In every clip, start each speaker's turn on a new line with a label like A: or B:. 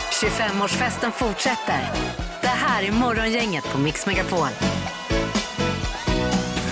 A: 25-årsfesten fortsätter. Det här är Morgongänget på Mix Megapol.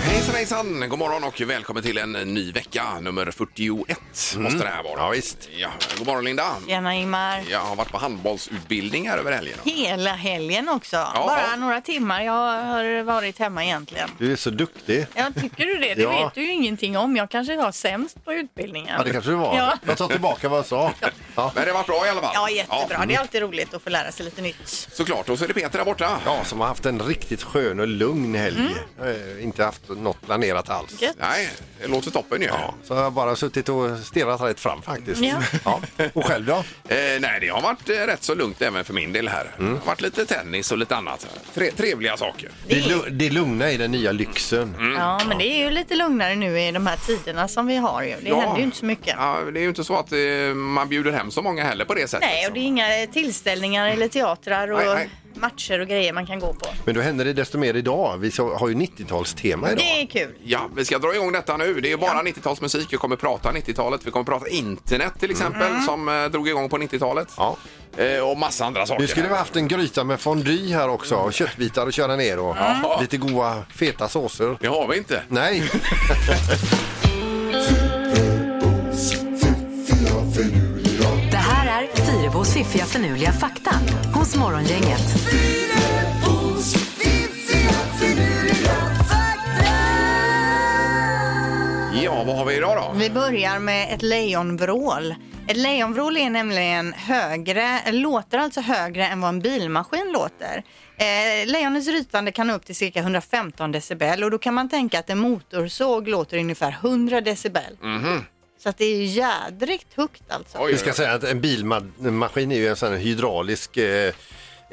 B: Hejsan hejsan, god morgon och välkommen till en ny vecka, nummer 41 måste det här vara. Ja, visst. Ja, god morgon Linda.
C: Tjena Ingmar.
B: Jag har varit på handbollsutbildningar över helgen.
C: Hela helgen också. Bara några timmar. Jag har varit hemma egentligen.
D: Du är så duktig.
C: Ja, tycker du det? Det
D: Ja.
C: vet du ju ingenting om. Jag kanske var sämst på utbildningen.
D: Ja, det kanske du var.
C: Ja.
D: Jag tar tillbaka vad jag sa. Ja.
B: Men det har varit bra i alla fall.
C: Ja, jättebra.
B: Ja,
C: Det
D: Mm.
C: är alltid roligt att få lära sig lite nytt.
B: såklart, och så är det Peter där borta.
D: Ja, som har haft en riktigt skön och lugn helg. Eh, inte haft något planerat alls.
C: Mm. Gött.
B: Nej, det låter toppen ju.
D: Ja, så jag har bara suttit och stirrat rätt fram faktiskt.
C: Ja.
D: Ja. Och själv då?
B: Eh, nej, det har varit eh, rätt så lugnt även för min del här. Det har varit lite tennis och lite annat. Tre, trevliga saker.
D: Det, lu- det lugna i den nya lyxen.
C: Ja, men det är ju lite lugnare nu i de här tiderna som vi har ju. Det
B: Ja.
C: händer ju inte så mycket.
B: Ja, det är ju inte så att eh, man bjuder hem så många heller på det sättet.
C: Nej, och det är inga tillställningar eller teatrar och
B: Nej, nej.
C: matcher och grejer man kan gå på.
D: Men då händer det desto mer idag. Vi så- har ju 90-talstema
C: Det är
D: idag.
C: kul.
B: Ja, vi ska dra igång detta nu. Det är bara 90-talsmusik. Vi kommer prata 90-talet. Vi kommer prata internet till exempel som eh, drog igång på 90-talet.
D: Ja.
B: Eh, och massa andra saker.
D: Nu skulle vi haft en gryta med fondy här också. Och köttbitar att köra ner och
B: Ja.
D: lite goda feta såser.
B: Det har vi inte.
D: Nej,
A: Det här är Fyrebos fiffiga förnuliga fakta hos Morgongänget.
B: Ja, vad har vi idag då?
C: Vi börjar med ett lejonvrål. Ett lejonvrål är nämligen högre, låter alltså högre än vad en bilmaskin låter. Eh, lejonens rytande kan nå upp till cirka 115 decibel och då kan man tänka att en motorsåg låter ungefär 100 decibel. Så att det är ju jädrigt högt alltså.
B: Oj,
D: Vi ska säga att en bilmaskin är ju en sån här hydraulisk eh,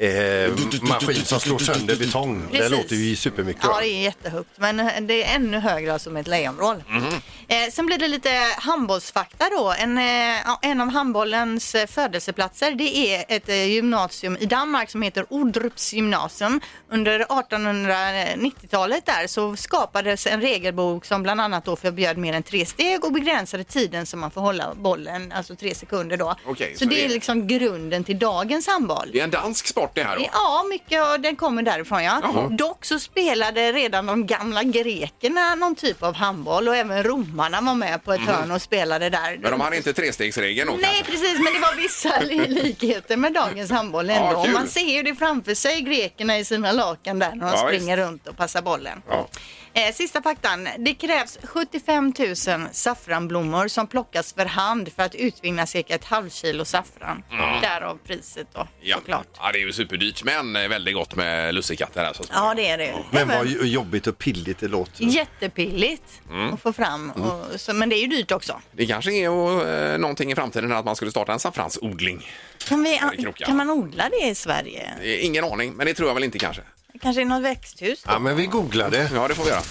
D: eh, maskin som slår sönder betong. Det
C: Precis.
D: låter ju supermycket.
C: Ja,
D: va?
C: det är jättehögt. Men eh, det är ännu högre alltså med ett lejonvrål.
D: Mhm.
C: Eh, sen blir det lite handbollsfakta då. En, eh, ja, en av handbollens eh, födelseplatser det är ett eh, gymnasium i Danmark som heter Ordrups gymnasium. Under 1890-talet där så skapades en regelbok som bland annat då förbjöd mer än tre steg och begränsade tiden som man får hålla bollen, alltså tre sekunder då.
B: Okej,
C: så,
B: så
C: det
B: det-
C: är liksom grunden till dagens handboll.
B: Det är en dansk sport det här då.
C: Ja, mycket av den kommer därifrån. Ja.
B: Jaha.
C: Dock så spelade redan de gamla grekerna någon typ av handboll och även romarna var med på ett hörn och spelade där.
B: Men Mhm. de hade inte trestegsregeln då
C: Nej,
B: kanske?
C: precis, men det var vissa li- likheter med dagens handboll ändå.
B: Ja, kul.
C: man ser ju det framför sig, grekerna i sina lakan där när de
B: Ja,
C: springer runt och passar bollen.
B: Ja.
C: Eh, sista faktan. Det krävs 75 000 saffranblommor som plockas för hand för att utvinna cirka ett halvt kilo saffran. Därav priset då,
B: Ja.
C: såklart.
B: ja, det är ju superdyrt men eh, väldigt gott med lussekatter här så
C: Ja, det är det.
D: Men
C: Även-
D: vad ju- jobbigt och pilligt det låter.
C: Jättepilligt
B: Mm.
C: att få fram. Och, så, men det är ju dyrt också.
B: Det kanske är eh, någonting i framtiden här att man skulle starta en saffransodling.
C: Kan, vi,
B: i krokar.
C: kan man odla det i Sverige?
B: Eh, Ingen aning, men det tror jag väl inte kanske.
C: Kanske i något växthus?
D: Ja, men vi googlade.
B: Ja, det får vi göra.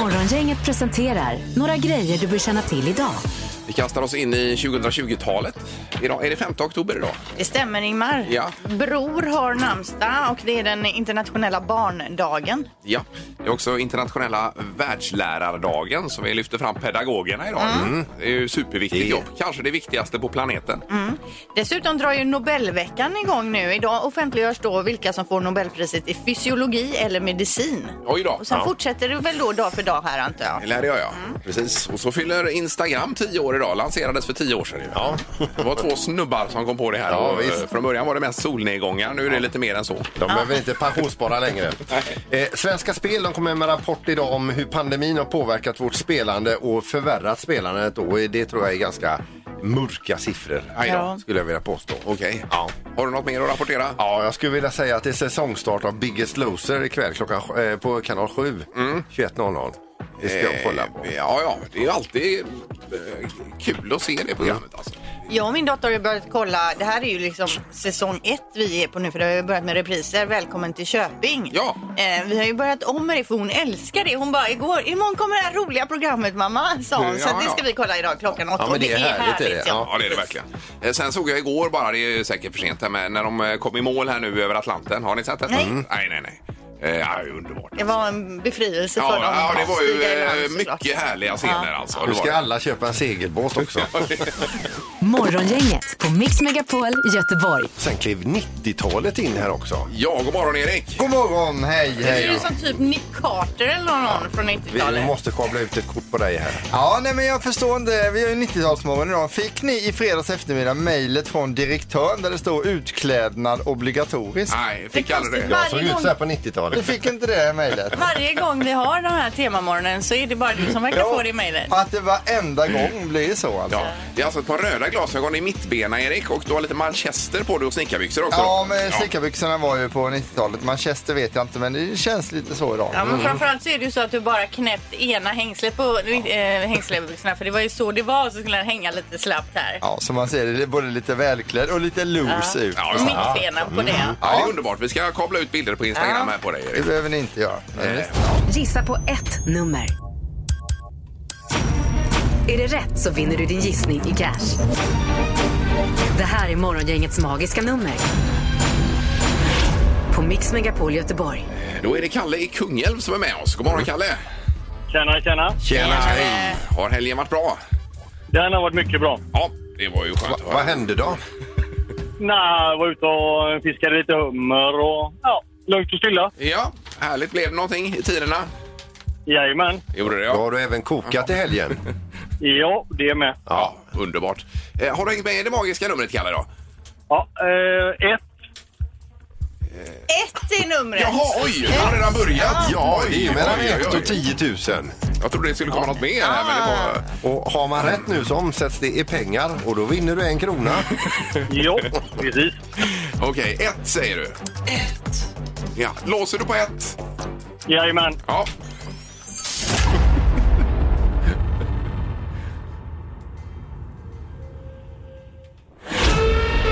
A: Morgongänget presenterar några grejer du bör känna till idag.
B: Vi kastar oss in i 2020-talet. Idag, är det 5 oktober idag?
C: Det stämmer Ingmar.
B: Ja.
C: Bror har namnsdag och det är den internationella barndagen.
B: Ja, det är också internationella världslärardagen så vi lyfter fram pedagogerna idag. Mm. Det är ju superviktigt jobb, kanske det viktigaste på planeten.
C: Dessutom drar ju Nobelveckan igång nu. Idag offentliggörs då vilka som får Nobelpriset i fysiologi eller medicin.
B: Oj då.
C: Och sen
B: Ja.
C: fortsätter det väl då dag för dag här antar jag.
B: Det lärde jag, ja. Precis. Och så fyller Instagram 10 år idag. Lanserades för 10 år sedan. ju.
D: Ja.
B: Det var två snubbar som kom på det här.
D: Ja,
B: Och, eh,
D: visst.
B: Från början var det mest solnedgångar, nu är det lite mer än så.
D: De behöver inte pensionsspara längre. Eh, Svenska Spel de kommer med en rapport idag om hur pandemin har påverkat vårt spelande och förvärrat spelandet. Och det tror jag är ganska mörka siffror,
B: Aj då.
C: Ja.
D: skulle jag vilja påstå.
B: Okej.
D: Ja.
B: Har du något mer att rapportera?
D: Ja, jag skulle vilja säga att det är säsongstart av Biggest Loser ikväll klockan, eh, på kanal 7, 21.00. Det ska jag kolla på.
B: Mm. Eh, Ja, ja. Det är ju alltid eh, kul att se det programmet. Alltså.
C: Jag och min dotter har ju börjat kolla, det här är ju liksom säsong ett vi är på nu för det har ju börjat med repriser. Välkommen till Köping.
B: Ja.
C: Eh, vi har ju börjat om med det för hon älskar det. Hon bara igår, imorgon kommer det här roliga programmet mamma, sa hon.
B: Ja,
C: så att det
B: ja.
C: ska vi kolla idag klockan åtta.
D: Ja, men
C: Och
D: det är härligt, är det.
C: ja.
B: Ja, det är det verkligen. Eh, Sen såg jag igår bara, det är ju säkert för sent, här, men när de eh, kom i mål här nu över Atlanten. Har ni sett detta?
C: Nej.
B: Mm. Nej, nej, nej. Eh, ja, underbart.
C: Det var en befrielse
B: Ja,
C: för dem.
B: ja, det
C: att
B: var ju
C: stiga i land,
B: eh,
C: såklart.
B: mycket härliga scener alltså.
D: Nu
B: Det
D: ska
B: var det.
D: alla köpa en segelbåt också.
A: Morgongänget på Mix Megapol Göteborg.
D: Sen klev 90-talet in här också.
B: Ja, god morgon Erik!
D: God morgon, hej,
C: Det är ju
D: hej.
C: som typ Nick Carter eller någon från
D: Vi
C: 90-talet.
D: måste kabla ut ett kort på dig här.
E: Ja, nej men jag förstår inte. Vi har ju 90-talsmorgon idag. Fick ni i fredags eftermiddag mejlet från direktören där det står utklädnad obligatoriskt?
B: Nej, fick
C: Det är
B: aldrig det.
C: konstigt.
D: Jag såg
C: Varje
D: ut så här
C: gång-
D: på
E: Ni
D: 90-talet.
E: fick inte det mejlet?
C: Varje gång vi har de här temamorgonen så är det bara du som verkar få det i mejlet.
E: Att det varenda gång blir så alltså.
B: Ja, det är alltså ett par röda glasögon i mittbena Erik och du har lite manchester på dig och snickarbyxor också.
E: Ja, men snickarbyxorna var ju på 90-talet. Manchester vet jag inte, men det känns lite så idag.
C: Ja,
B: Mm.
C: men framförallt så är det ju så att du bara knäppt ena hängslet på äh, hängslebyxorna för det var ju så det var så skulle den hänga lite slappt här.
E: Ja, som man ser det, det är både lite välklädd och lite loose ut.
B: Ja, ja.
C: Mittbena på det.
B: Ja, det är underbart. Vi ska kabla ut bilder på Instagram här på dig
E: Det
B: Erik.
E: behöver ni inte göra.
B: Eh,
A: Gissa på ett nummer. Är det rätt så vinner du din gissning i cash. Det här är Morgongängets magiska nummer. På Mix Megapol Göteborg.
B: Eh, Då är det Kalle i Kungälv som är med oss. God morgon Kalle!
F: Tjena, tjena.
D: Tjena,
B: Hej! Har helgen varit bra?
F: Den har varit mycket bra.
B: Ja, det var ju skönt att
D: Vad
B: höra.
D: hände då?
F: Nej, jag var ute och fiskade lite hummer och ja, lugnt och stilla.
B: Ja, härligt. Blev det någonting i tiderna?
F: Jajamän.
B: Gjorde det
D: Då
B: ja.
D: har du även kokat i helgen.
F: Ja, det med.
B: Ja, underbart. Eh, Har du hängt med i det magiska numret Kalle då?
F: Ja, eh, ett.
C: Ett i numret.
B: Jaha, oj! Jag har redan börjat.
D: Ja, det är ju mellan
B: oj, oj,
D: 1
B: oj.
D: och 10 000.
B: Jag trodde det skulle komma något mer här, men det var...
D: Och har man rätt nu så omsätts det i pengar och då vinner du en krona.
F: Ja, precis.
D: Ah.
B: Okej, ett säger du. Ett. Ja, låser du på ett?
F: Jajamän.
B: Ja.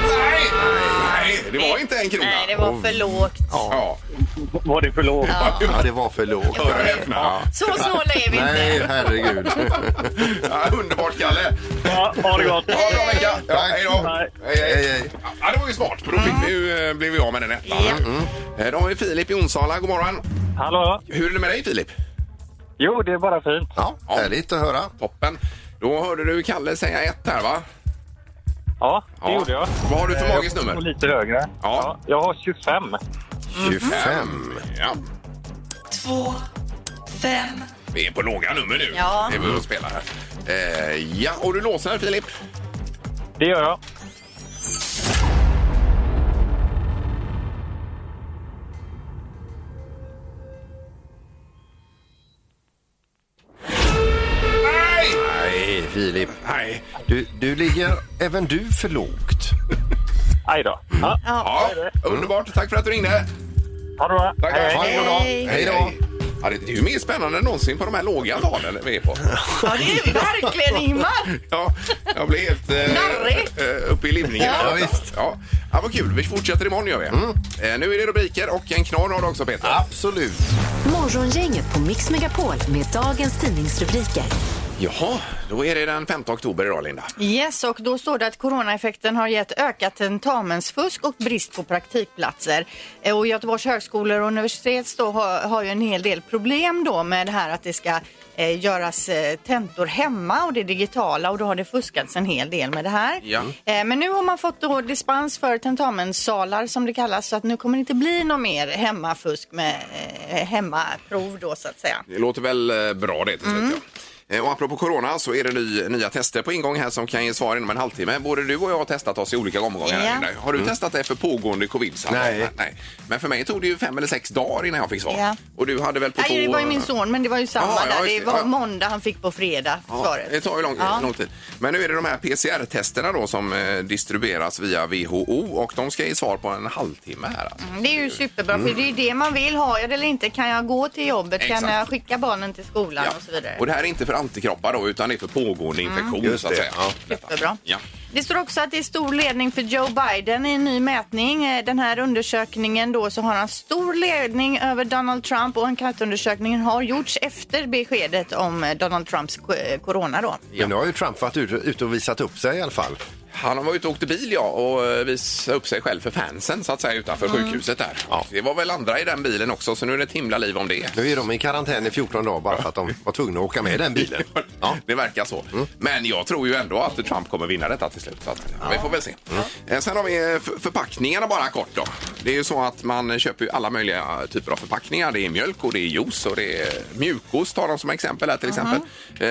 B: Nej, nej, det var inte en krona.
C: Nej, det var för lågt.
B: Ja,
F: Var det för lågt?
D: Ja, det var för lågt.
B: hör och häpna.
C: Så snåla är vi inte.
D: Nej, herregud.
B: Ja, underbart, Kalle.
F: Ja, ha det gott.
B: Ha en bra vecka. Ja,
D: Tack.
B: hej då.
F: Nej.
B: Hej, hej.
D: Hej, hej.
B: Ja, det var ju smart, för då fick vi ju, eh, blev vi av med den ettan. Mm. Eh, Då har vi Filip i Onsala. God morgon.
F: Hallå?
B: Hur är det med dig, Filip?
F: Jo, det är bara fint.
D: Ja, härligt att höra.
B: Toppen. Då hörde du Kalle säga ett här, va?
F: Ja, det
B: Ja.
F: gjorde jag.
B: Vad har du för
F: Eh,
B: magiskt
F: Och
B: nummer?
F: lite högre. Ja. Jag har 25.
D: 25.
B: Ja.
G: två, fem,
B: Vi är på låga nummer nu.
C: Ja.
B: Det är vi att spela här. Eh, ja, och du låser här, Filip.
F: Det gör jag.
B: Nej!
D: Nej, Filip.
B: Nej.
D: Du, du ligger även du för lågt.
F: Aj då. Ja,
B: Ja, underbart. Tack för att du ringde.
F: ha det bra.
B: Tack. Ha en god dag.
C: Hej.
B: Hej då. Ja, det är ju mer spännande än någonsin på de här låga talen vi är på.
C: Ja, det är verkligen Ingmar.
B: Ja, jag blir helt
C: Narrig.
B: eh, uppe i limningen.
D: Ja, visst.
B: Ja. ja, vad kul. Vi fortsätter imorgon gör vi. Eh, nu är det rubriker och en knorr har du också Peter.
D: Absolut.
A: Morgongänget på Mix Megapol med dagens tidningsrubriker.
B: Jaha, då är det den 5 oktober idag Linda.
C: Yes, och då står det att coronaeffekten har gett ökat tentamensfusk och brist på praktikplatser. Eh, Och Göteborgs högskolor och universitet då har, har ju en hel del problem då med det här att det ska eh, göras eh, tentor hemma och det digitala och då har det fuskats en hel del med det här.
B: Ja.
C: Eh, Men nu har man fått då dispens för tentamenssalar som det kallas så att nu kommer det inte bli något mer hemmafusk med eh, hemmaprov då så att säga.
B: Det låter väl eh, bra det till slut.
C: Mm.
B: Ja. Eh, Och apropå corona så är det ny, nya tester på ingång här som kan ge svar inom en halvtimme. Både du och jag har testat oss i olika omgångar. här,
C: Ja. Mm.
B: Linda. Har du testat dig för pågående covid? samtal?
D: Nej.
B: Nej. Men för mig tog det ju fem eller sex dagar innan jag fick svar.
C: Ja.
B: Och du hade väl på
C: Nej, det
B: två-
C: var ju min son, men det var ju samma
B: Jaha, ja,
C: där.
B: just
C: Det
B: det.
C: var
B: Ja.
C: måndag han fick på fredag,
B: Ja,
C: svaret.
B: det tar ju lång,
C: Ja.
B: lång tid. Men nu är det de här PCR-testerna då som eh, distribueras via WHO och de ska ge svar på en halvtimme här. Alltså.
C: Mm, Det är ju superbra, för det är ju det man vill ha. Eller inte, kan jag gå till jobbet? Kan
B: Exakt.
C: jag skicka barnen till skolan och så vidare? Mm.
B: Och det här är inte för antikroppar då utan det är för pågående infektion så att säga.
C: Superbra.
B: Ja.
C: Det står också att det är stor ledning för Joe Biden i en ny mätning. Eh, Den här undersökningen då så har han stor ledning över Donald Trump och enkätundersökningen har gjorts efter beskedet om eh, Donald Trumps eh, corona då.
D: Men nu har ju Trump varit ute ut och visat upp sig i alla fall.
B: Han var ute och åkte bil ja, och eh, visade upp sig själv för fansen så att säga utanför sjukhuset där. Det var väl andra i den bilen också så nu är det ett himla liv om det.
D: Nu är de i karantän i 14 dagar bara för att de var tvungna att åka med den bilen.
B: Ja, Mm. det verkar så. Men jag tror ju ändå att Trump kommer vinna detta till slut. Så att, Vi får väl se. Eh, Sen har vi eh, för- förpackningarna bara kort då. Det är ju så att man köper ju alla möjliga eh, typer av förpackningar. Det är mjölk och det är juice och det är mjukost har de som exempel här till exempel.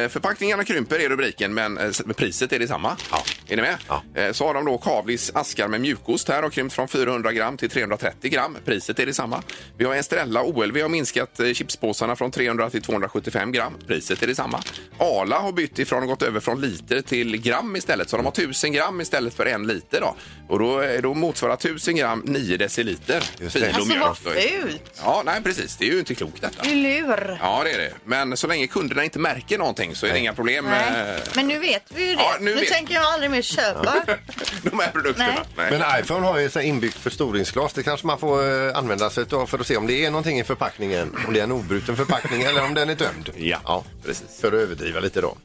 B: Eh, Förpackningarna krymper är rubriken men eh, s- men priset är detsamma. Ja. Är ni med?
D: Ja.
B: Eh, Så har de då Kavlis askar med mjukost här och krympt från 400 gram till 330 gram. Priset är detsamma. Vi har Estrella OLV har minskat eh, chipspåsarna från 300 till 275 gram. Priset är detsamma. Arla har bytt ifrån och gått över från liter till gram istället. Så de har 1000 gram istället för en liter då. Och då, eh, då motsvarar 1000 gram 9 deciliter.
D: Just det.
B: Filo
C: Alltså vad
B: mjölk då.
C: fult!
B: Ja, nej precis. Det är ju inte klokt detta.
C: Du lur!
B: Ja, det är det. Men så länge kunderna inte märker någonting så är det inga problem. eh,
C: Nej.
B: med
C: Men nu vet vi ju det.
B: Ja, nu
C: nu
B: vet-
C: tänker jag aldrig mer köpa.
B: de här produkterna.
C: Nej.
B: Nej.
D: Men iPhone har ju så här inbyggt förstoringsglas. Det kanske man får eh, använda sig av för att se om det är någonting i förpackningen. Om det är en obruten förpackning eller om den är tömd.
B: Ja, precis.
D: För att överdriva lite då.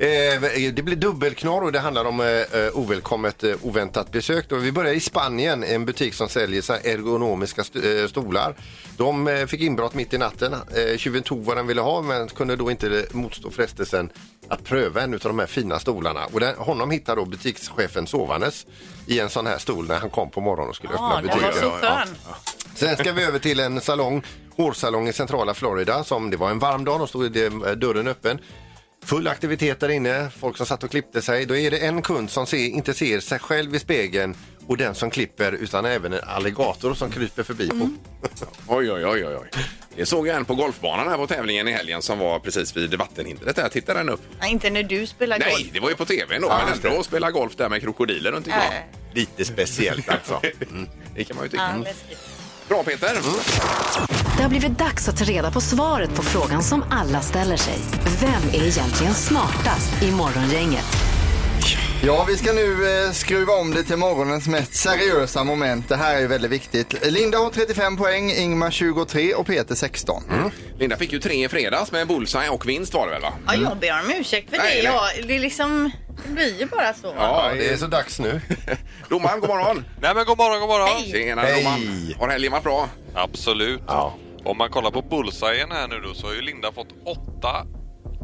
D: Eh, det blir dubbelknorr och det handlar om eh, eh, ovälkommet, eh, oväntat besök. Då. Vi börjar i Spanien, en butik som säljer så här ergonomiska st- eh, stolar. De eh, fick inbrott mitt i natten. Eh, tjuven tog vad den ville ha men kunde då inte motstå frestelsen att pröva en av de här fina stolarna. Och den, honom hittar då butikschefen sovandes i en sån här stol när han kom på morgonen och skulle
C: Ja,
D: öppna
C: den Ah, var
D: butiken.
C: så skön.
D: Sen ska vi över till en salong, hårsalong i centrala Florida. Som det var en varm dag, och stod det, eh, dörren öppen. Full aktivitet där inne, folk som satt och klippte sig. Då är det en kund som ser, inte ser sig själv i spegeln och den som klipper utan även en alligator som kryper förbi. På.
B: Oj, oj, oj, oj. oj. Det såg jag en på golfbanan här på tävlingen i helgen som var precis vid vattenhindret. Där tittade den upp.
C: Nej, inte när du spelar
B: Nej,
C: golf.
B: det var ju på tv då. men ändå att spela golf där med krokodiler runt omkring. Mm,
C: Nej.
D: Lite speciellt alltså.
B: Det kan man
C: Ja,
B: ju tycka.
C: läskigt.
B: Bra Peter.
C: Mm.
A: Det har blivit dags att ta reda på svaret på frågan som alla ställer sig. Vem är egentligen smartast i Morgongänget?
E: Ja, vi ska nu eh, skruva om det till morgonens mest seriösa moment. Det här är ju väldigt viktigt. Linda har 35 poäng, Ingmar 23 och Peter 16.
B: Linda fick ju tre i fredags med bullseye och vinst var det väl va?
C: Ja, jag ber om ursäkt för
B: Mm. Nej,
C: det.
B: nej.
C: Ja, det är liksom... Det blir ju bara så.
D: Ja, det är så dags nu.
B: Domaren, god morgon.
H: Nej men god morgon, god morgon.
C: Hej!
B: Tjena
D: Hej.
B: domaren. Har helgen varit bra?
H: Absolut. Om man kollar på bullseyen här nu då så har ju Linda fått åtta,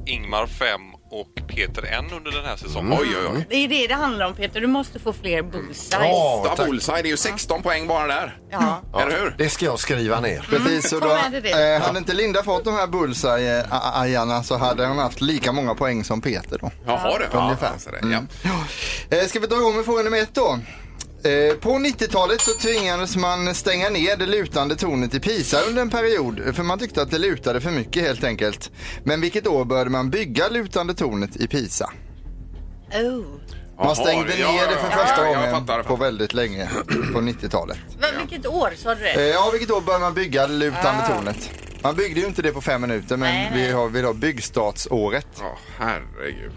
H: Ingmar fem och Peter en under den här säsongen.
B: Oj, oj, oj.
C: Det är det det handlar om Peter. Du måste få fler bullseyes.
D: Ja.
B: Ja,
D: tack.
B: bullseye, det är ju 16 poäng bara där.
C: Ja.
B: Eller hur?
D: Det ska jag skriva ner.
E: Precis, så
C: ta
E: då,
C: med dig det.
E: eh, hade inte Linda fått de här eh, bullseye-ajarna så hade hon haft lika många poäng som Peter då.
B: Jaha du.
E: Ungefär.
B: så det- Ja.
E: Eh, ska vi dra igång med fråga nummer ett då? Eh, På 90-talet så tvingades man stänga ner det lutande tornet i Pisa under en period för man tyckte att det lutade för mycket helt enkelt. Men vilket år började man bygga lutande tornet i Pisa?
C: Oh.
E: Man
B: Jaha,
E: stängde
B: ja,
E: ner det för
B: ja, ja,
E: första
B: ja, jag
E: gången
B: fattar, jag
E: på
B: fattar.
E: väldigt länge på 90-talet.
C: Va, vilket år sa du
E: Eh,
C: det?
E: Ja, vilket år började man bygga det lutande tornet? Man byggde ju inte det på fem minuter men
C: Ah. Nej, nej.
E: vi har, vi har byggstartsåret.
B: Ja, herregud.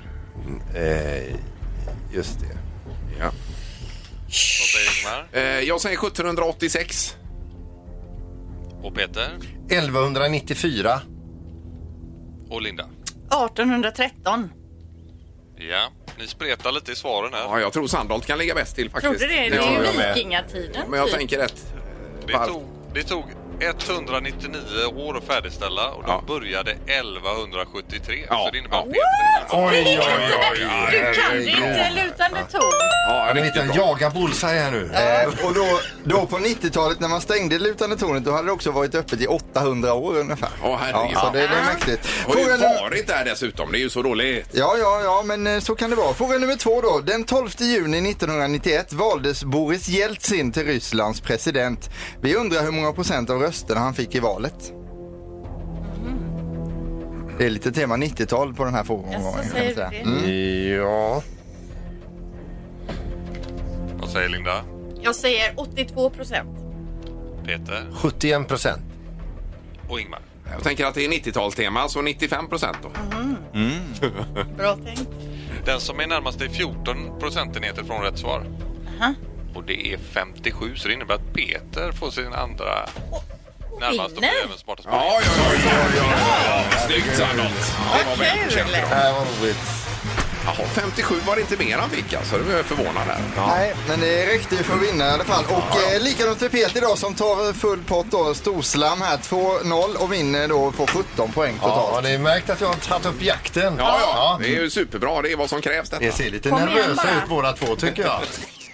D: Eh, just det.
B: Ja.
H: Vad säger Ingmar?
B: Eh, Jag säger 1786.
H: Och Peter?
D: 1194.
H: Och Linda?
C: 1813.
H: Ja, ni spretar lite i svaren här.
B: Ja, jag tror Sandholt kan ligga bäst till faktiskt.
C: Trodde det? Det
B: Ja,
C: är
B: jag
C: ju
B: med.
C: vikingatiden.
B: Men jag
C: typ.
B: tänker rätt.
H: Det
B: Varv.
H: tog, det tog 199 år att färdigställa och de
B: Ja.
H: började 1173.
B: Ja,
H: Så det innebär
B: ja.
H: att Peter
D: Oj, oj,
C: Du kan det inte, lutande torn.
B: Ja,
D: En liten
B: riktigt bra.
D: jaga bullseye här nu.
E: Eh, Och då, då på 90-talet när man stängde lutande tornet då hade det också varit öppet i 800 år ungefär.
B: Åh, herregud.
E: så det, det är mäktigt.
B: Har ju
E: Fråga nu-
B: varit där dessutom. Det är ju så dåligt.
E: Ja, ja, ja, men eh, så kan det vara. Fråga nummer två då. Den 12 juni 1991 valdes Boris Jeltsin till Rysslands president. Vi undrar hur många procent av rösterna han fick i valet. Det är lite tema 90-tal på den här frågan.
C: Mm. Jaså, säger du det?
D: Eh, mm. Ja.
H: Vad säger Linda?
B: Mm.
C: Jag säger 82 procent.
H: Peter?
D: 71 procent.
H: Och Ingmar?
B: Jag tänker att det är 90-talstema, så 95 procent då.
C: Bra tänkt.
H: Den som är närmast är 14 procentenheter från rätt svar. Och det är 57 så det innebär att Peter får sin andra närmast och
C: vinner.
H: blir även smartast.
B: Ja, ja, ja. ja, ja, ja, ja. Snyggt, Sandholt. Det var
C: Vad
B: väldigt
C: kul!
B: känt idag.
D: Det här var roligt.
B: Jaha, 57 var det inte mer han fick alltså. Det var jag förvånad här.
E: Nej, men det räckte ju för att vinna i alla fall. Och eh, likadant för Peter idag som tar full pott då, storslam här, 2-0 och vinner då på 17 poäng
D: Ja,
E: totalt.
D: har ni märkt att jag har tagit upp jakten?
B: Ja, ja, det är ju superbra. Det är vad som krävs detta.
D: Ni ser lite
I: Kom igen
D: nervösa
I: bara.
D: ut båda två tycker jag.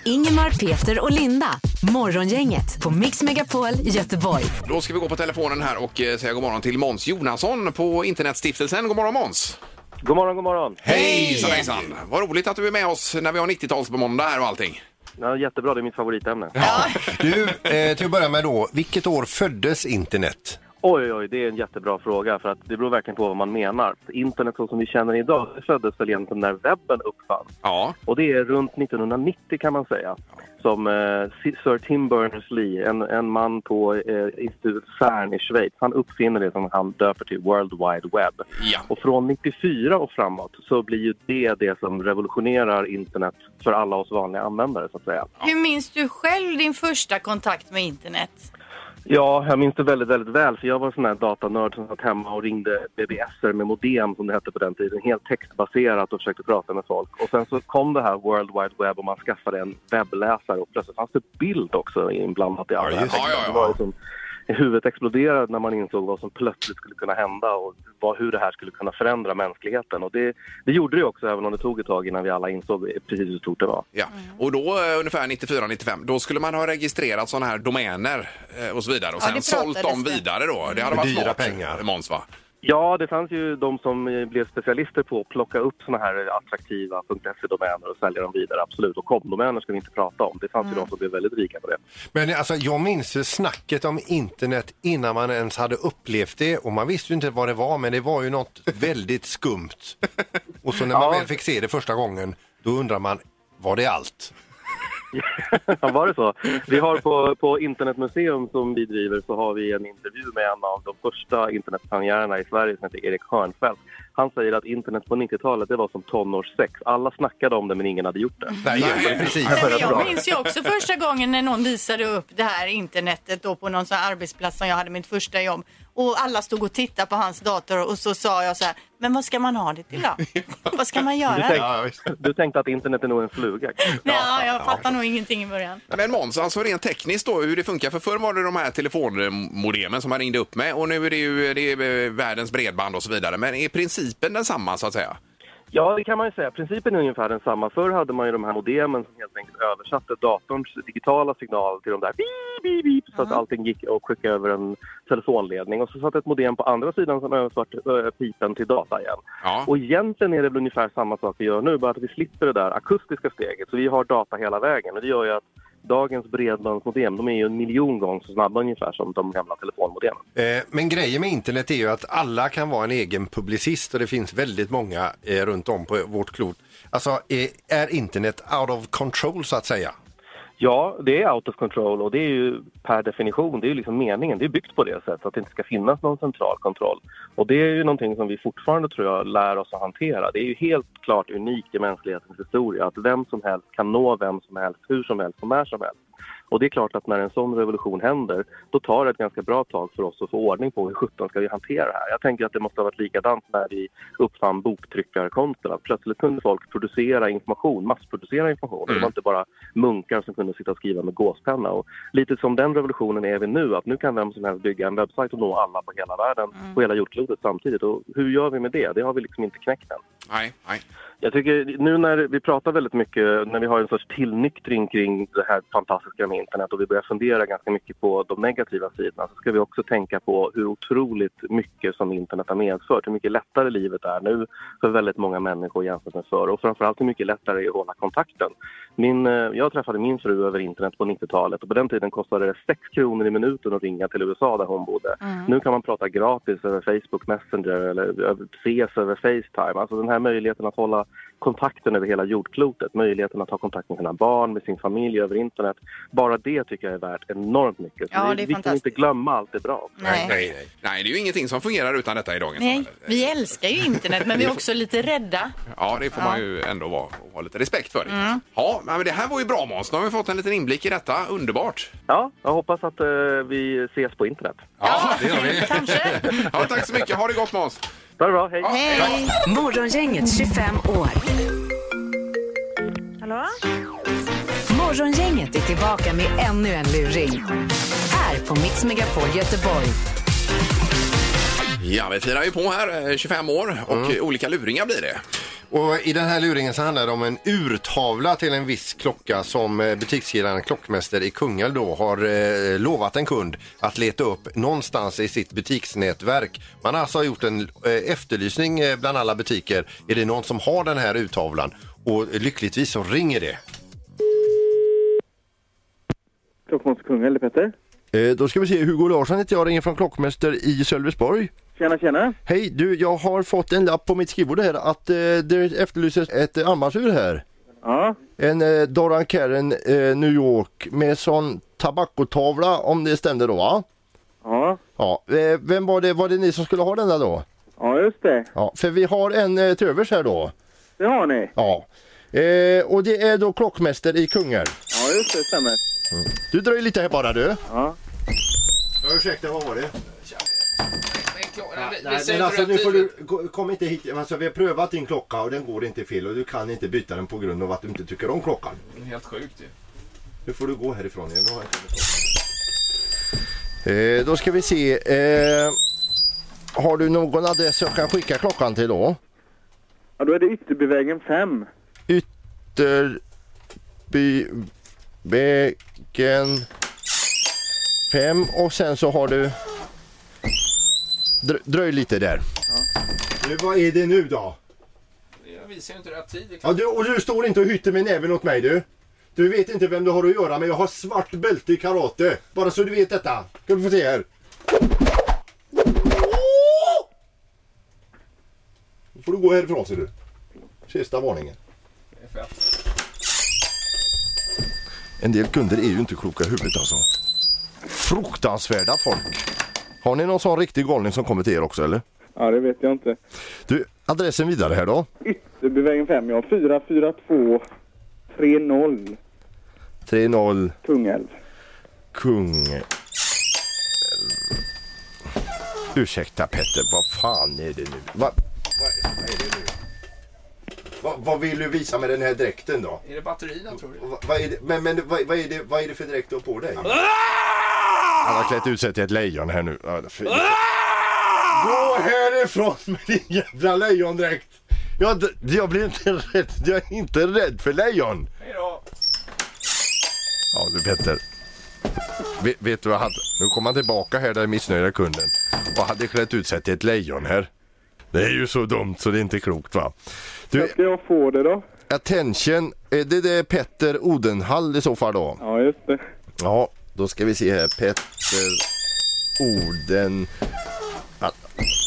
A: Ingemar, Peter och Linda. Morgongänget på Mix Megapol Göteborg.
B: Då ska vi gå på telefonen här och eh, säga god morgon till Måns Jonasson på Internetstiftelsen. God morgon Måns!
F: God morgon, god morgon.
B: Hej! Hejsan, hejsan. Vad roligt att du är med oss när vi har 90-tals på måndag här och allting.
F: Ja, jättebra, det är mitt favoritämne.
D: Du, eh, till att börja med då, vilket år föddes internet?
F: Oj, oj, det är en jättebra fråga för att det beror verkligen på vad man menar. Internet så som vi känner idag det föddes väl egentligen när webben uppfanns.
B: Ja,
F: Och det är runt 1990 kan man säga. Som eh, Sir Tim Berners-Lee, en, en man på eh, institutet CERN i Schweiz, han uppfinner det som han döper till World Wide Web.
B: Ja.
F: Och från 94 och framåt så blir ju det det som revolutionerar internet för alla oss vanliga användare så att säga.
C: Hur minns du själv din första kontakt med internet?
F: Ja, jag minns det väldigt, väldigt väl. För jag var en sån här datanörd som satt hemma och ringde BBSer med modem som det hette på den tiden. Helt textbaserat och försökte prata med folk. Och sen så kom det här World Wide Web och man skaffade en webbläsare och plötsligt fanns det bild också inblandat i all den här
B: just det.
F: texten.
B: Ja, ja, ja.
F: Det var liksom, huvudet exploderade när man insåg vad som plötsligt skulle kunna hända och vad, hur det här skulle kunna förändra mänskligheten. Och det, det gjorde det också, även om det tog ett tag innan vi alla insåg precis hur stort det var.
B: ja.
C: Mm.
B: Och då eh, ungefär 94-95, då skulle man ha registrerat sådana här domäner eh, och så vidare och
C: Ja,
B: sen
C: det
B: sålt dem
C: pratades det.
B: vidare då. Det hade varit
D: Dyra
B: smart,
D: pengar.
B: Måns va?
F: Ja, det fanns ju de som eh, blev specialister på att plocka upp såna här attraktiva .se-domäner och sälja dem vidare, absolut. Och komdomäner ska vi inte prata om. Det fanns ju de som blev väldigt rika på det.
D: Men alltså, jag minns ju snacket om internet innan man ens hade upplevt det och man visste ju inte vad det var men det var ju något väldigt skumt. Och så när man väl fick se det första gången då undrar man, var det allt?
F: Ja, Var det så? Vi har på, på Internetmuseum som vi driver så har vi en intervju med en av de första internetpionjärerna i Sverige som heter Erik Hörnfeldt. Han säger att internet på 90-talet det var som tonårssex. Alla snackade om det men ingen hade gjort det.
D: Nej, precis.
C: Nej, men jag minns ju också första gången när någon visade upp det här internetet då på någon sån här arbetsplats som jag hade mitt första jobb. Och alla stod och tittade på hans dator och så sa jag så här, men vad ska man ha det till då? vad ska man göra?
F: tänkte-
D: Ja, visst.
F: Du tänkte att internet är nog en fluga? kanske?
C: Nej, jag fattar nog ingenting i början.
B: Men Måns, alltså rent tekniskt då, hur det funkar. För förr var det de här telefonmodemen som man ringde upp med och nu är det ju det är eh, världens bredband och så vidare. Men är principen densamma så att säga?
F: Ja, det kan man ju säga. Principen är ungefär densamma. Förr hade man ju de här modemen som helt enkelt översatte datorns digitala signal till de där beep, beep, beep, så att allting gick och skicka över en telefonledning. Och så satt ett modem på andra sidan som översatte eh, pipen till data igen.
B: Ja.
F: Och egentligen är det väl ungefär samma sak vi gör nu, bara att vi slipper det där akustiska steget. Så vi har data hela vägen och det gör ju att dagens bredbandsmodem, de är ju en miljon gånger så snabba ungefär som de gamla telefonmodemen.
D: Eh, Men grejen med internet är ju att alla kan vara en egen publicist och det finns väldigt många eh, runt om på vårt klot. Alltså, eh, är internet out of control så att säga?
F: Ja, det är out of control och det är ju per definition, det är ju liksom meningen, det är byggt på det sättet att det inte ska finnas någon central kontroll. Och det är ju någonting som vi fortfarande tror jag lär oss att hantera. Det är ju helt klart unikt i mänsklighetens historia att vem som helst kan nå vem som helst, hur som helst och när som helst. Och det är klart att när en sån revolution händer, då tar det ett ganska bra tag för oss att få ordning på hur sjutton ska vi hantera det här. Jag tänker att det måste ha varit likadant när vi uppfann boktryckarkonsten. Att plötsligt kunde folk producera information, massproducera information. Det var inte bara munkar som kunde sitta och skriva med gåspenna. Och lite som den revolutionen är vi nu, att nu kan vem som helst bygga en webbsajt och nå alla på hela världen, på hela jordklotet samtidigt. Och hur gör vi med det? Det har vi liksom inte knäckt än.
B: Nej, nej.
F: Jag tycker nu när vi pratar väldigt mycket, när vi har en sorts tillnyktring kring det här fantastiska med internet och vi börjar fundera ganska mycket på de negativa sidorna så ska vi också tänka på hur otroligt mycket som internet har medfört. Hur mycket lättare livet är nu för väldigt många människor jämfört med förr och framförallt hur mycket lättare det är att hålla kontakten. Min, eh, jag träffade min fru över internet på 90-talet och på den tiden kostade det 6 kronor i minuten att ringa till USA där hon bodde. Nu kan man prata gratis över Facebook Messenger eller över- ses över Facetime. Alltså den här möjligheten att hålla kontakten över hela jordklotet, möjligheten att ha kontakt med sina barn, med sin familj över internet. Bara det tycker jag är värt enormt mycket. Så
C: Ja,
F: vi-
C: det är
F: vi kan inte
C: fantastiskt.
F: glömma allt det bra.
C: Nej. Nej.
B: Nej, nej. nej, det är ju ingenting som fungerar utan detta i dagens samhälle.
C: vi älskar ju internet men vi är också lite rädda.
B: Ja, Mm. det får man ju ändå vara och ha lite respekt för. Det. Ja, men det här var ju bra Måns. Nu har vi fått en liten inblick i detta. Underbart!
F: Ja, jag hoppas att eh, vi ses på internet.
B: Ja, det gör vi.
C: Kanske.
B: Ja, tack så mycket. Ha det gott Måns!
F: Ha det bra, hej!
C: Hej!
A: Morgongänget 25 år.
I: Hallå?
A: Morgongänget är tillbaka med ännu en luring. Här på Mix Megapol Göteborg.
B: Ja, vi firar ju på här eh, 25 år och eh, olika luringar blir det.
D: Och I den här luringen så handlar det om en urtavla till en viss klocka som eh, butikskedjan Klockmäster i Kungälv då har eh, lovat en kund att leta upp någonstans i sitt butiksnätverk. Man har alltså gjort en eh, efterlysning eh, bland alla butiker. Är det någon som har den här urtavlan? Och lyckligtvis så ringer det.
F: Klockmåns Kungälv, Petter.
D: Eh, då ska vi se, Hugo Larsson heter jag, ringer från Klockmäster i Sölvesborg.
F: Tjena, tjena.
D: Hej, du, jag har fått en lapp på mitt skrivbord här att eh, det efterlyses ett armbandsur här.
F: Ja,
D: En eh, Doran Karen eh, New York med sån tabakotavla om det stämde då va?
F: ja,
D: Ja, eh, vem var det, var det ni som skulle ha den där då?
F: ja just det.
D: Ja, för vi har en eh, till övers här då.
F: Det har ni.
D: Ja. Eh, och det är då klockmäster i Kungälv.
F: Ja, just det, stämmer.
D: Du drar ju lite här bara du.
F: Ja.
D: Ja, ursäkta, vad var det?
J: Nej,
D: Nej, men alltså nu får du, ko- kom inte hit. Alltså, vi har prövat din klocka och den går inte fel och du kan inte byta den på grund av att du inte tycker om klockan.
J: Helt sjukt ju.
D: Nu får du gå härifrån. Jag vill ha en eh, då ska vi se. Eh, har du någon adress jag kan skicka klockan till då?
F: ja, då är det Ytterbyvägen 5.
D: Ytterbyvägen 5 och sen så har du... Drö, dröj lite där. Nu, vad är det nu då?
J: Jag visar ju inte rätt tid.
D: Ja, du, och du står inte och hytter med näven åt mig du. Du vet inte vem du har att göra med. Jag har svart bälte i karate. Bara så du vet detta. Ska du få se här. Nu får du gå härifrån ser du. Sista varningen. En del kunder är ju inte kloka i huvudet alltså. Fruktansvärda folk. Har ni någon sån riktig galning som kommer till er också eller?
F: Ja, det vet jag inte.
D: Du, adressen vidare här då.
F: Ytterbyvägen 5, ja. 442 30
D: 30...
F: Kungälv.
D: Kung... Ursäkta Petter, vad fan är det nu? Va? Vad är det nu? Va, vad vill du visa med den här dräkten då?
J: Är det batterierna tror du? Ah!
D: Va, vad är det, men men vad, vad, är det, vad är det för dräkt du har på dig? Han har klätt ut sig till ett lejon här nu. Ja, fy- Gå härifrån med din jävla lejondräkt! Jag, d- jag blir inte rädd, jag är inte rädd för lejon!
J: Hej då!
D: Ja du Petter. Vet, vet du vad han... Nu kom han tillbaka här den missnöjda kunden och hade klätt ut sig till ett lejon här. Det är ju så dumt så det är inte klokt va. Du,
F: Ska jag få det då?
D: attention. Är det det Petter Odenhall i så fall då?
F: Ja, just det.
D: Ja, då ska vi se här. Petter Oden... Ah,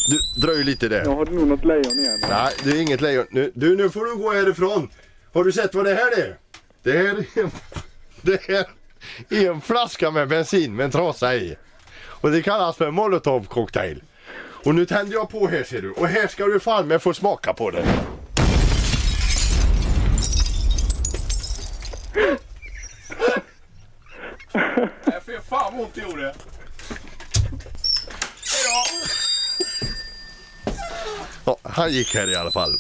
D: Du, dröj lite där.
F: Jag har nog något lejon igen.
D: Nej, det är inget lejon. Nu, du, nu får du gå härifrån. Har du sett vad det här är? Det här är en, det här är en flaska med bensin med en trasa i. Och det kallas för molotovcocktail. Och nu tänder jag på här ser du. Och här ska du fan med få smaka på den.
J: Nej, fy fan vad ont det gjorde.
D: Ja, han gick här i alla fall.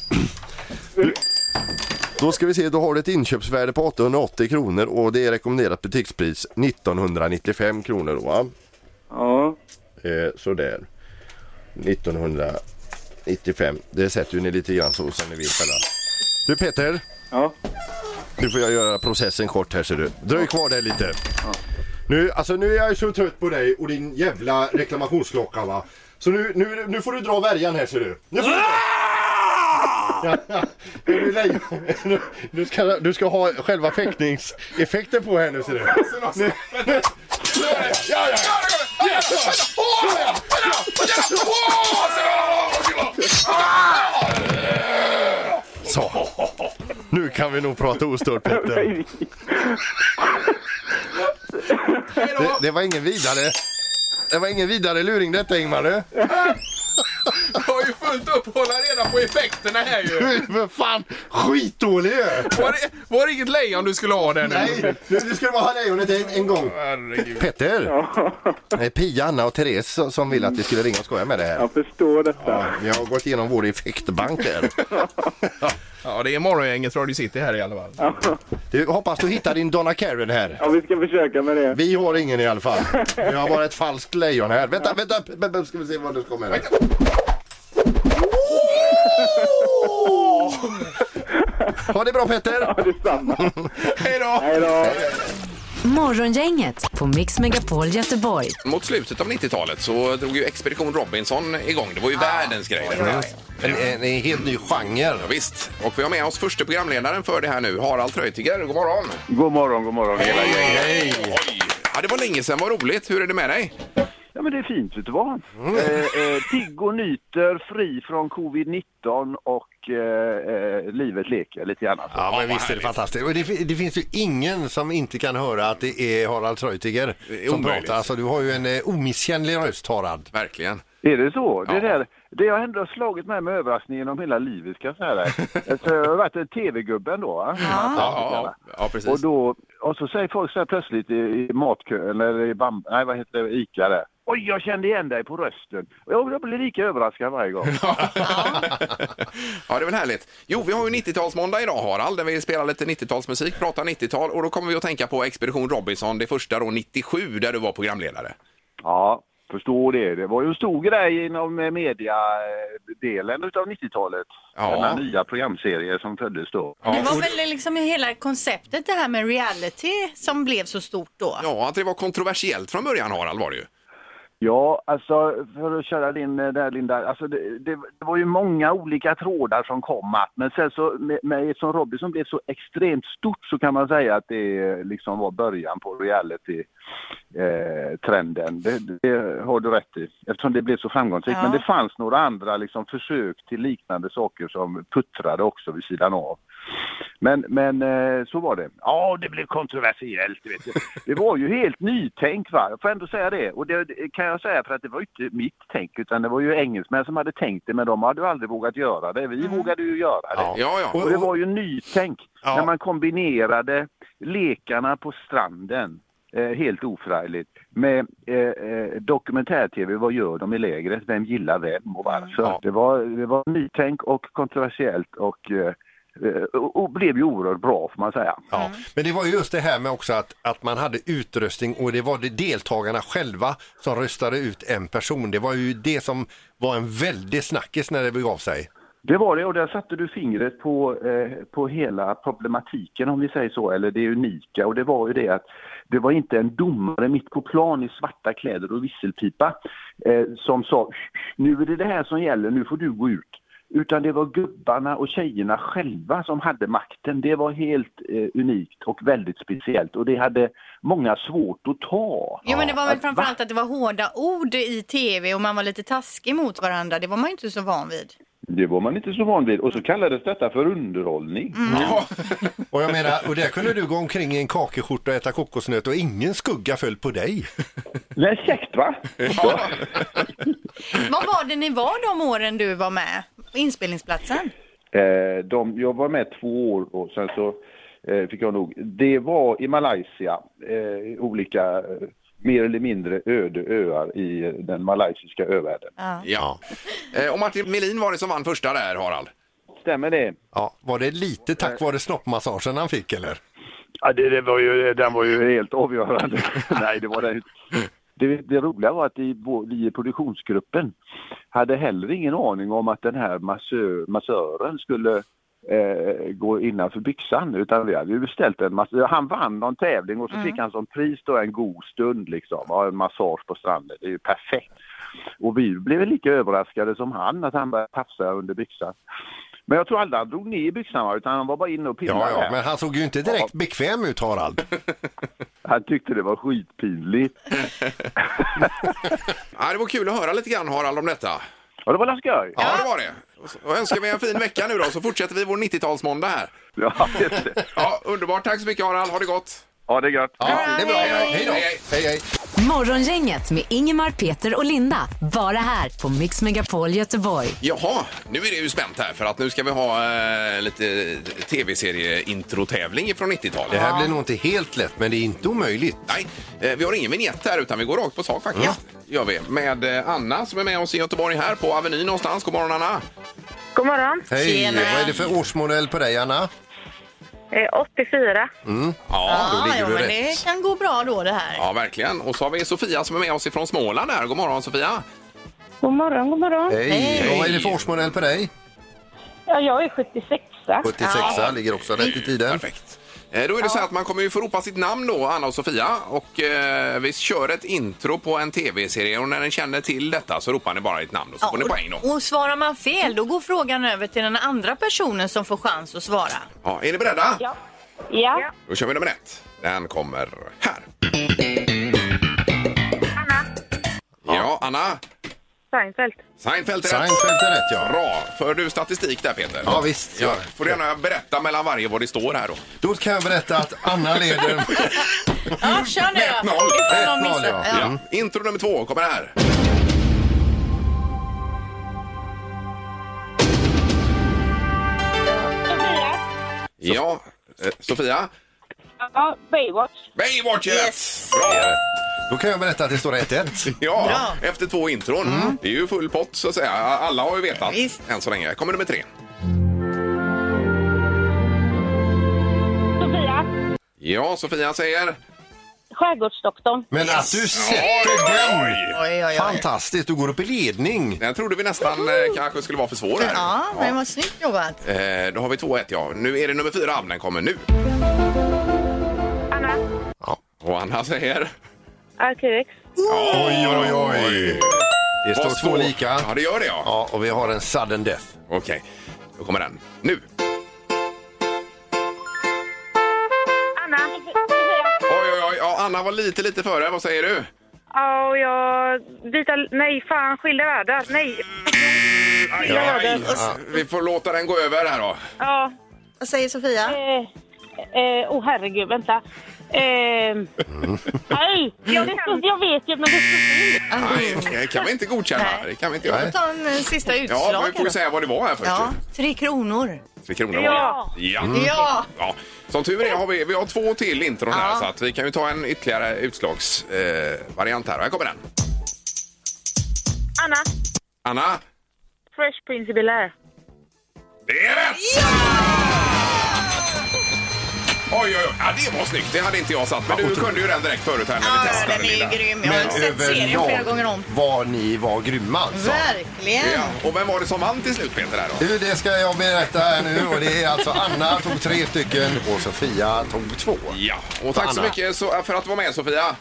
D: Du, Då ska vi se, då har du ett inköpsvärde på 880 kronor och det är rekommenderat butikspris 1995 kronor då va?
F: Ja.
D: Eh, sådär. 1995. Det sätter ju ni lite grann så som ni vill fälla. Du Peter,
F: Ja.
D: nu får jag göra processen kort här ser du. Dröj kvar där lite. Nu, alltså nu är jag ju så trött på dig och din jävla reklamationsklocka va. Så nu, nu, nu får du dra värjan här ser du. Nu får du Ja, ja. Är du lejon? Nu- du, ska, du ska ha själva fäktningseffekten på här nu ser du. Nu- nu- Ja, ja, ja. Så. Nu kan vi nog prata ostört Petter. Det, det var ingen vidare. Det var ingen vidare luring detta Ingmar du.
B: Jag har ju fullt upp att hålla reda på effekterna här ju.
D: Men fan, skitdålig ju!
B: Var det, var det inget lejon du skulle ha där nu?
D: Nej, nu nu ska du bara ha lejonet en, en gång.
B: Herregud.
D: Petter! Eh, Pia, Anna och Therese som- som vill att vi skulle ringa och skoja med det här.
I: Jag förstår detta.
D: Vi har gått igenom vår effektbank där.
B: Ja, det är morgongänget Radio City här i alla fall.
D: Du, hoppas du hittar din Donna Karen här.
I: Ja, vi ska försöka med det.
D: Vi har ingen i alla fall. Vi har bara ett falskt lejon här. Vänta, vänta, p- p- p- ska vi se vad du ska med. här. Ha det bra Petter!
I: Ja, detsamma.
B: Hej då!
I: Hej då.
A: Morgongänget på Mix Megapol Göteborg.
B: Mot slutet av 90-talet så drog ju Expedition Robinson igång. Det var ju världens grej. detta.
D: En, en, en helt ny genre.
B: Ja, visst. Och vi har med oss första programledaren för det här nu, Harald Treutiger. God morgon!
I: God morgon, god morgon hela gänget.
B: Hej! Oj! Ja, det var länge sedan. Vad roligt. Hur är det med dig?
I: Ja, men det är fint, vet du vad? Eh, eh, pigg och nyter, fri från covid-19 och eh, eh, livet leker lite grann. Alltså.
D: Ja, men
B: vad
D: visst är det
B: härligt.
D: fantastiskt. Och det, fi- det finns ju ingen som inte kan höra att det är Harald Treutiger
B: Det är
D: som
B: omöjligt.
D: pratar. Alltså, du har ju en eh, omissigenlig röst, Harald.
B: Verkligen.
I: Är det så?
B: Ja.
I: Det, där, det har ändå slagit mig med överraskning genom hela livet, ska jag säga dig. Alltså, jag har varit en tv-gubbe ändå. va?
B: Ja, ja, ja precis.
I: Och, då, och så säger folk så här plötsligt i, i matkön, eller i bam, nej vad heter det, Ica där. Oj, jag kände igen dig på rösten. Och jag jag blir lika överraskad varje gång.
B: ja, det är väl härligt. Jo, vi har ju 90-talsmåndag idag, Harald, där vi spelar lite 90-talsmusik, pratar 90-tal och då kommer vi att tänka på Expedition Robinson, det första då 97, där du var programledare.
I: Ja, förstår det. Det var ju en stor grej inom eh, mediadelen av 90-talet.
B: Ja.
I: Denna nya programserie som föddes då.
C: Det var väl liksom hela konceptet det här med reality som blev så stort då.
B: Ja, att det var kontroversiellt från början, Harald, var det ju.
I: Ja, alltså för att köra din eh, där Linda, alltså det, det, det var ju många olika trådar som kom att, men sen så med, med som Robinson blev så extremt stort så kan man säga att det eh, liksom var början på reality-trenden. det, det har du rätt i, eftersom det blev så framgångsrikt.
C: Ja.
I: Men det fanns några andra liksom försök till liknande saker som puttrade också vid sidan av. Men, men eh, så var det. Ja, det blev kontroversiellt. Vet du. Det var ju helt nytänk, va? jag får ändå säga det. Och det det kan jag säga för att det var ju inte mitt tänk utan det var ju engelsmän som hade tänkt det men de hade ju aldrig vågat göra det. Vi vågade ju göra det.
B: Ja, ja.
I: Och det var ju nytänk
D: Ja.
I: när man kombinerade lekarna på stranden, eh, helt oförargligt, med eh, eh, dokumentär-tv. Vad gör de i lägret? Vem gillar vem och varför?
B: Ja.
I: Det, var, det var nytänk och kontroversiellt och, eh, eh, och, och blev ju oerhört bra får man säga.
D: Ja. Men det var ju just det här med också att, att man hade utröstning och det var det deltagarna själva som röstade ut en person. Det var ju det som var en väldig snackis när det begav sig.
I: Det var det och där satte du fingret på, eh, på hela problematiken om vi säger så, eller det unika och det var ju det att det var inte en domare mitt på plan i svarta kläder och visselpipa eh, som sa nu är det det här som gäller, nu får du gå ut. Utan det var gubbarna och tjejerna själva som hade makten. Det var helt eh, unikt och väldigt speciellt och det hade många svårt att ta.
C: Jo men det var väl
I: Att,
C: framförallt
I: va?
C: att det var hårda ord i tv och man var lite taskig mot varandra. Det var man ju inte så van vid.
I: Det var man inte så van vid och så kallades detta för underhållning.
D: Och jag menar, och där kunde du gå omkring i en kakeskjorta och äta kokosnöt och ingen skugga föll på dig.
I: Nej, käckt va?
C: Vad var det ni var de åren du var med? Inspelningsplatsen?
I: Eh, de, jag var med två år och sen så eh, fick jag nog. Det var i Malaysia, eh, olika eh, mer eller mindre öde öar i den malaysiska övärlden.
B: ja. Eh, Och Martin Melin var det som vann första där, Harald.
I: Stämmer det?
D: Ja, var det lite tack
B: Eh.
D: vare snoppmassagen han fick eller?
I: Ja, det, det var ju, den var ju helt avgörande. Nej, det var den inte. Det, det roliga var att i, vår- vi i produktionsgruppen hade heller ingen aning om att den här massö, massören skulle eh, gå innanför byxan. Utan vi hade ju beställt en massör. Han vann någon tävling och så fick han som pris då en god stund liksom. Ja, en massage på stranden. Det är ju perfekt. Och vi blev lika överraskade som han att han började tafsa under byxan. Men jag tror aldrig han drog ner byxan va, utan han var bara inne och pillade.
D: Ja, ja,
I: där.
D: men han såg ju inte direkt bekväm ut Harald.
I: Han tyckte det var skitpinligt.
B: Ja, det var kul att höra lite grann, Harald, om detta.
I: Ja, det var la skoj.
B: Ja, det var det. Och så- Och önskar vi en fin vecka nu då, så fortsätter vi vår 90-talsmåndag här.
I: Ja, just det.
B: Ja, underbart. Tack så mycket, Harald. Ha det gott. Eh,
I: Ja, det är gött.
D: Ja, det är bra. Hej då!
B: Hej, hej.
D: Hej, hej.
A: Morgongänget med Ingemar, Peter och Linda. Bara här på Mix Megapol Göteborg.
B: Jaha, nu är det ju spänt här för att nu ska vi ha eh, lite tv-serie-introtävling från 90-talet.
D: Det här blir nog inte helt lätt, men det är inte omöjligt.
B: Nej, eh, vi har ingen vignett här utan vi går rakt på sak faktiskt. Gör vi. Med eh, Anna som är med oss i Göteborg här på Avenyn någonstans. God morgon Anna!
K: God morgon.
D: Hej!
C: Tjena.
D: Vad är det för årsmodell på dig, Anna?
K: Eh, 84.
D: Mm.
B: Ja,
C: Ja,
B: då ligger
C: jo,
B: du
C: men det
B: rätt.
C: kan gå bra då det här.
B: Ja, verkligen. Och så har vi Sofia som är med oss ifrån Småland här. God morgon Sofia!
K: God morgon, god morgon.
D: Hej!
C: Hej.
D: Och vad är det för årsmodell på dig?
K: Ja, jag är 76.
D: 76 ligger också rätt i tiden.
B: Perfekt. Eh, Då är det så här att man kommer ju få ropa sitt namn då, Anna och Sofia. Och eh, vi kör ett intro på en tv-serie och när ni känner till detta så ropar ni bara ett namn och så får ni poäng då.
C: och, och svarar man fel då går frågan över till den andra personen som får chans att svara.
B: Ja, är ni beredda?
K: Ja. Ja.
B: Då kör vi nummer ett. Den kommer här. Anna. Ja, Anna.
K: Seinfeld.
B: Seinfeld är rätt.
D: Seinfeld är rätt, ja.
B: Bra! För du statistik där, Peter.
D: Ja, visst.
B: Ja, får du gärna berätta mellan varje vad det står här då.
D: Då kan jag berätta att Anna leder.
C: Ja,
B: Mm.
C: kör nu då.
B: 1-0.
C: Ifall
D: 1-0,
C: någon missar.
D: ja.
C: Ja.
B: Ja. Mm. Intro nummer två kommer här.
K: Sofia.
B: Ja, eh, Sofia.
K: Ja, Baywatch.
B: Baywatch! Yes. Bra!
D: Då kan jag berätta att det står 1-1.
B: Ja, efter två intron.
D: Mm.
B: Det är ju full pott så att säga. Alla har ju vetat än så länge. Kommer nummer tre.
K: Sofia.
B: Ja, Sofia säger...
K: Skärgårdsdoktorn.
D: Men att du
B: Oj,
D: sätter den!
B: oj.
C: Oj, oj, oj.
D: Fantastiskt, du går upp i ledning.
B: Den trodde vi nästan eh, kanske skulle vara för svår. Här.
C: Ja, men vad snyggt jobbat.
B: Eh, då har vi 2-1, ja. Nu är det nummer fyra. Den kommer nu.
K: Anna.
B: Ja. Och Anna säger...
K: Arkivex.
D: Oj, oj, oj. Det
B: Vad
D: står två lika.
B: Ja, det gör det, ja.
D: Ja, och vi har en sudden death.
B: Okej, då kommer den. Nu!
K: Anna.
B: Oj, oj, oj. Ja, Anna var lite, lite före. Vad säger du?
K: Ja, och jag... Vita... Nej, fan. Skilda världar. Nej.
B: Aj,
K: Ja,
B: aj, aj. Vi får låta den gå över här då.
K: Ja.
C: Vad säger Sofia?
K: Eh, eh, oh, herregud. Vänta. Eh, nej, jag, vet- jag vet ju, men det står fel.
B: Nej, det kan vi inte godkänna. Det kan vi inte göra.
D: Nej.
C: Ta en eh, sista utslag.
B: Ja, vi
C: här
B: får ju
C: då.
B: säga vad det var här först.
C: ja, tre kronor.
B: Tre kronor var det.
K: Ja.
B: Ja.
D: Mm.
C: Ja.
B: ja! Som tur är har vi, vi har två till intron här
C: Ja.
B: så att vi kan ju ta en ytterligare utslagsvariant eh, variant här. Här kommer den.
K: Anna.
B: Anna!
K: Fresh Prince of Bel-Air.
B: Det är rätt! Oj, oj, oj. Ja, det var snyggt. Det hade inte jag satt. Men du kunde ju den direkt förut här när vi
C: Ja,
B: testade.
C: den är
B: Linda.
C: ju grym. Jag har sett serien flera gånger om.
D: var ni var grymma alltså.
C: Verkligen.
B: Ja, och vem var det som vann till slut Peter? Där då?
D: Du, det ska jag berätta här nu och det är alltså Anna tog tre stycken och Sofia tog två.
B: Ja, och tack så
D: Anna.
B: mycket så, för att du var med Sofia.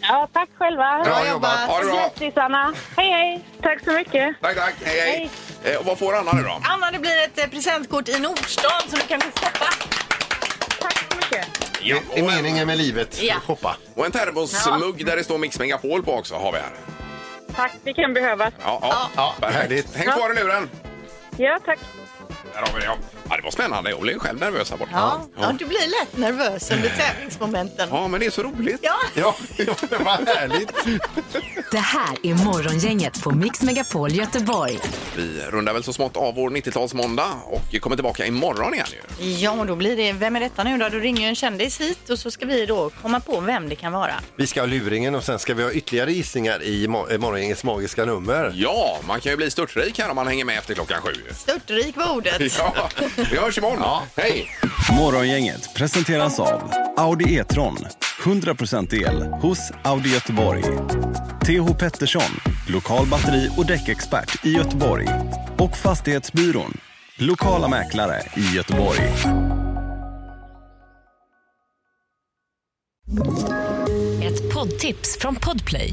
K: Ja, tack själva.
D: Bra
C: jobbat.
B: Ha det bra.
K: Grattis, Anna. Hej, hej. Tack så mycket.
B: Tack, tack. Hej, hej. Eh, och vad får Anna nu då?
C: Anna, det blir ett eh, presentkort i Nordstan som du kan gå och shoppa.
K: Tack så mycket.
B: Ja,
D: I
B: och, en,
D: meningen med livet.
C: Ja.
D: Hoppa.
B: och en termosmugg där det står Mix Megapol på också har vi här.
K: Tack, det kan behövas.
B: Ja, ja.
D: Ja,
B: Perfekt.
D: härligt.
B: Häng kvar i luren.
K: Ja, tack.
B: Där har vi det. Ja. Ja, det var spännande. Jag blev själv nervös här borta.
C: Ja. ja, du blir lätt nervös under tävlingsmomenten.
B: Ja, men det är så roligt.
C: Ja.
D: Ja, vad härligt.
A: Det här är Morgongänget på Mix Megapol Göteborg.
B: Vi rundar väl så smått av vår 90-talsmåndag och kommer tillbaka imorgon igen ju.
C: Ja, och då blir det Vem är detta nu då? Då ringer ju en kändis hit och så ska vi då komma på vem det kan vara.
D: Vi ska ha luringen och sen ska vi ha ytterligare gissningar i mo- eh, morgongängets magiska nummer.
B: Ja, man kan ju bli störtrik här om man hänger med efter klockan sju.
C: Störtrik var ordet.
B: Ja, vi hörs imorgon. Hej!
L: Morgongänget presenteras av Audi E-tron. 100% el hos Audi Göteborg. TH Pettersson, lokal batteri och däckexpert i Göteborg. Och Fastighetsbyrån, lokala mäklare i Göteborg.
M: Ett poddtips från Podplay.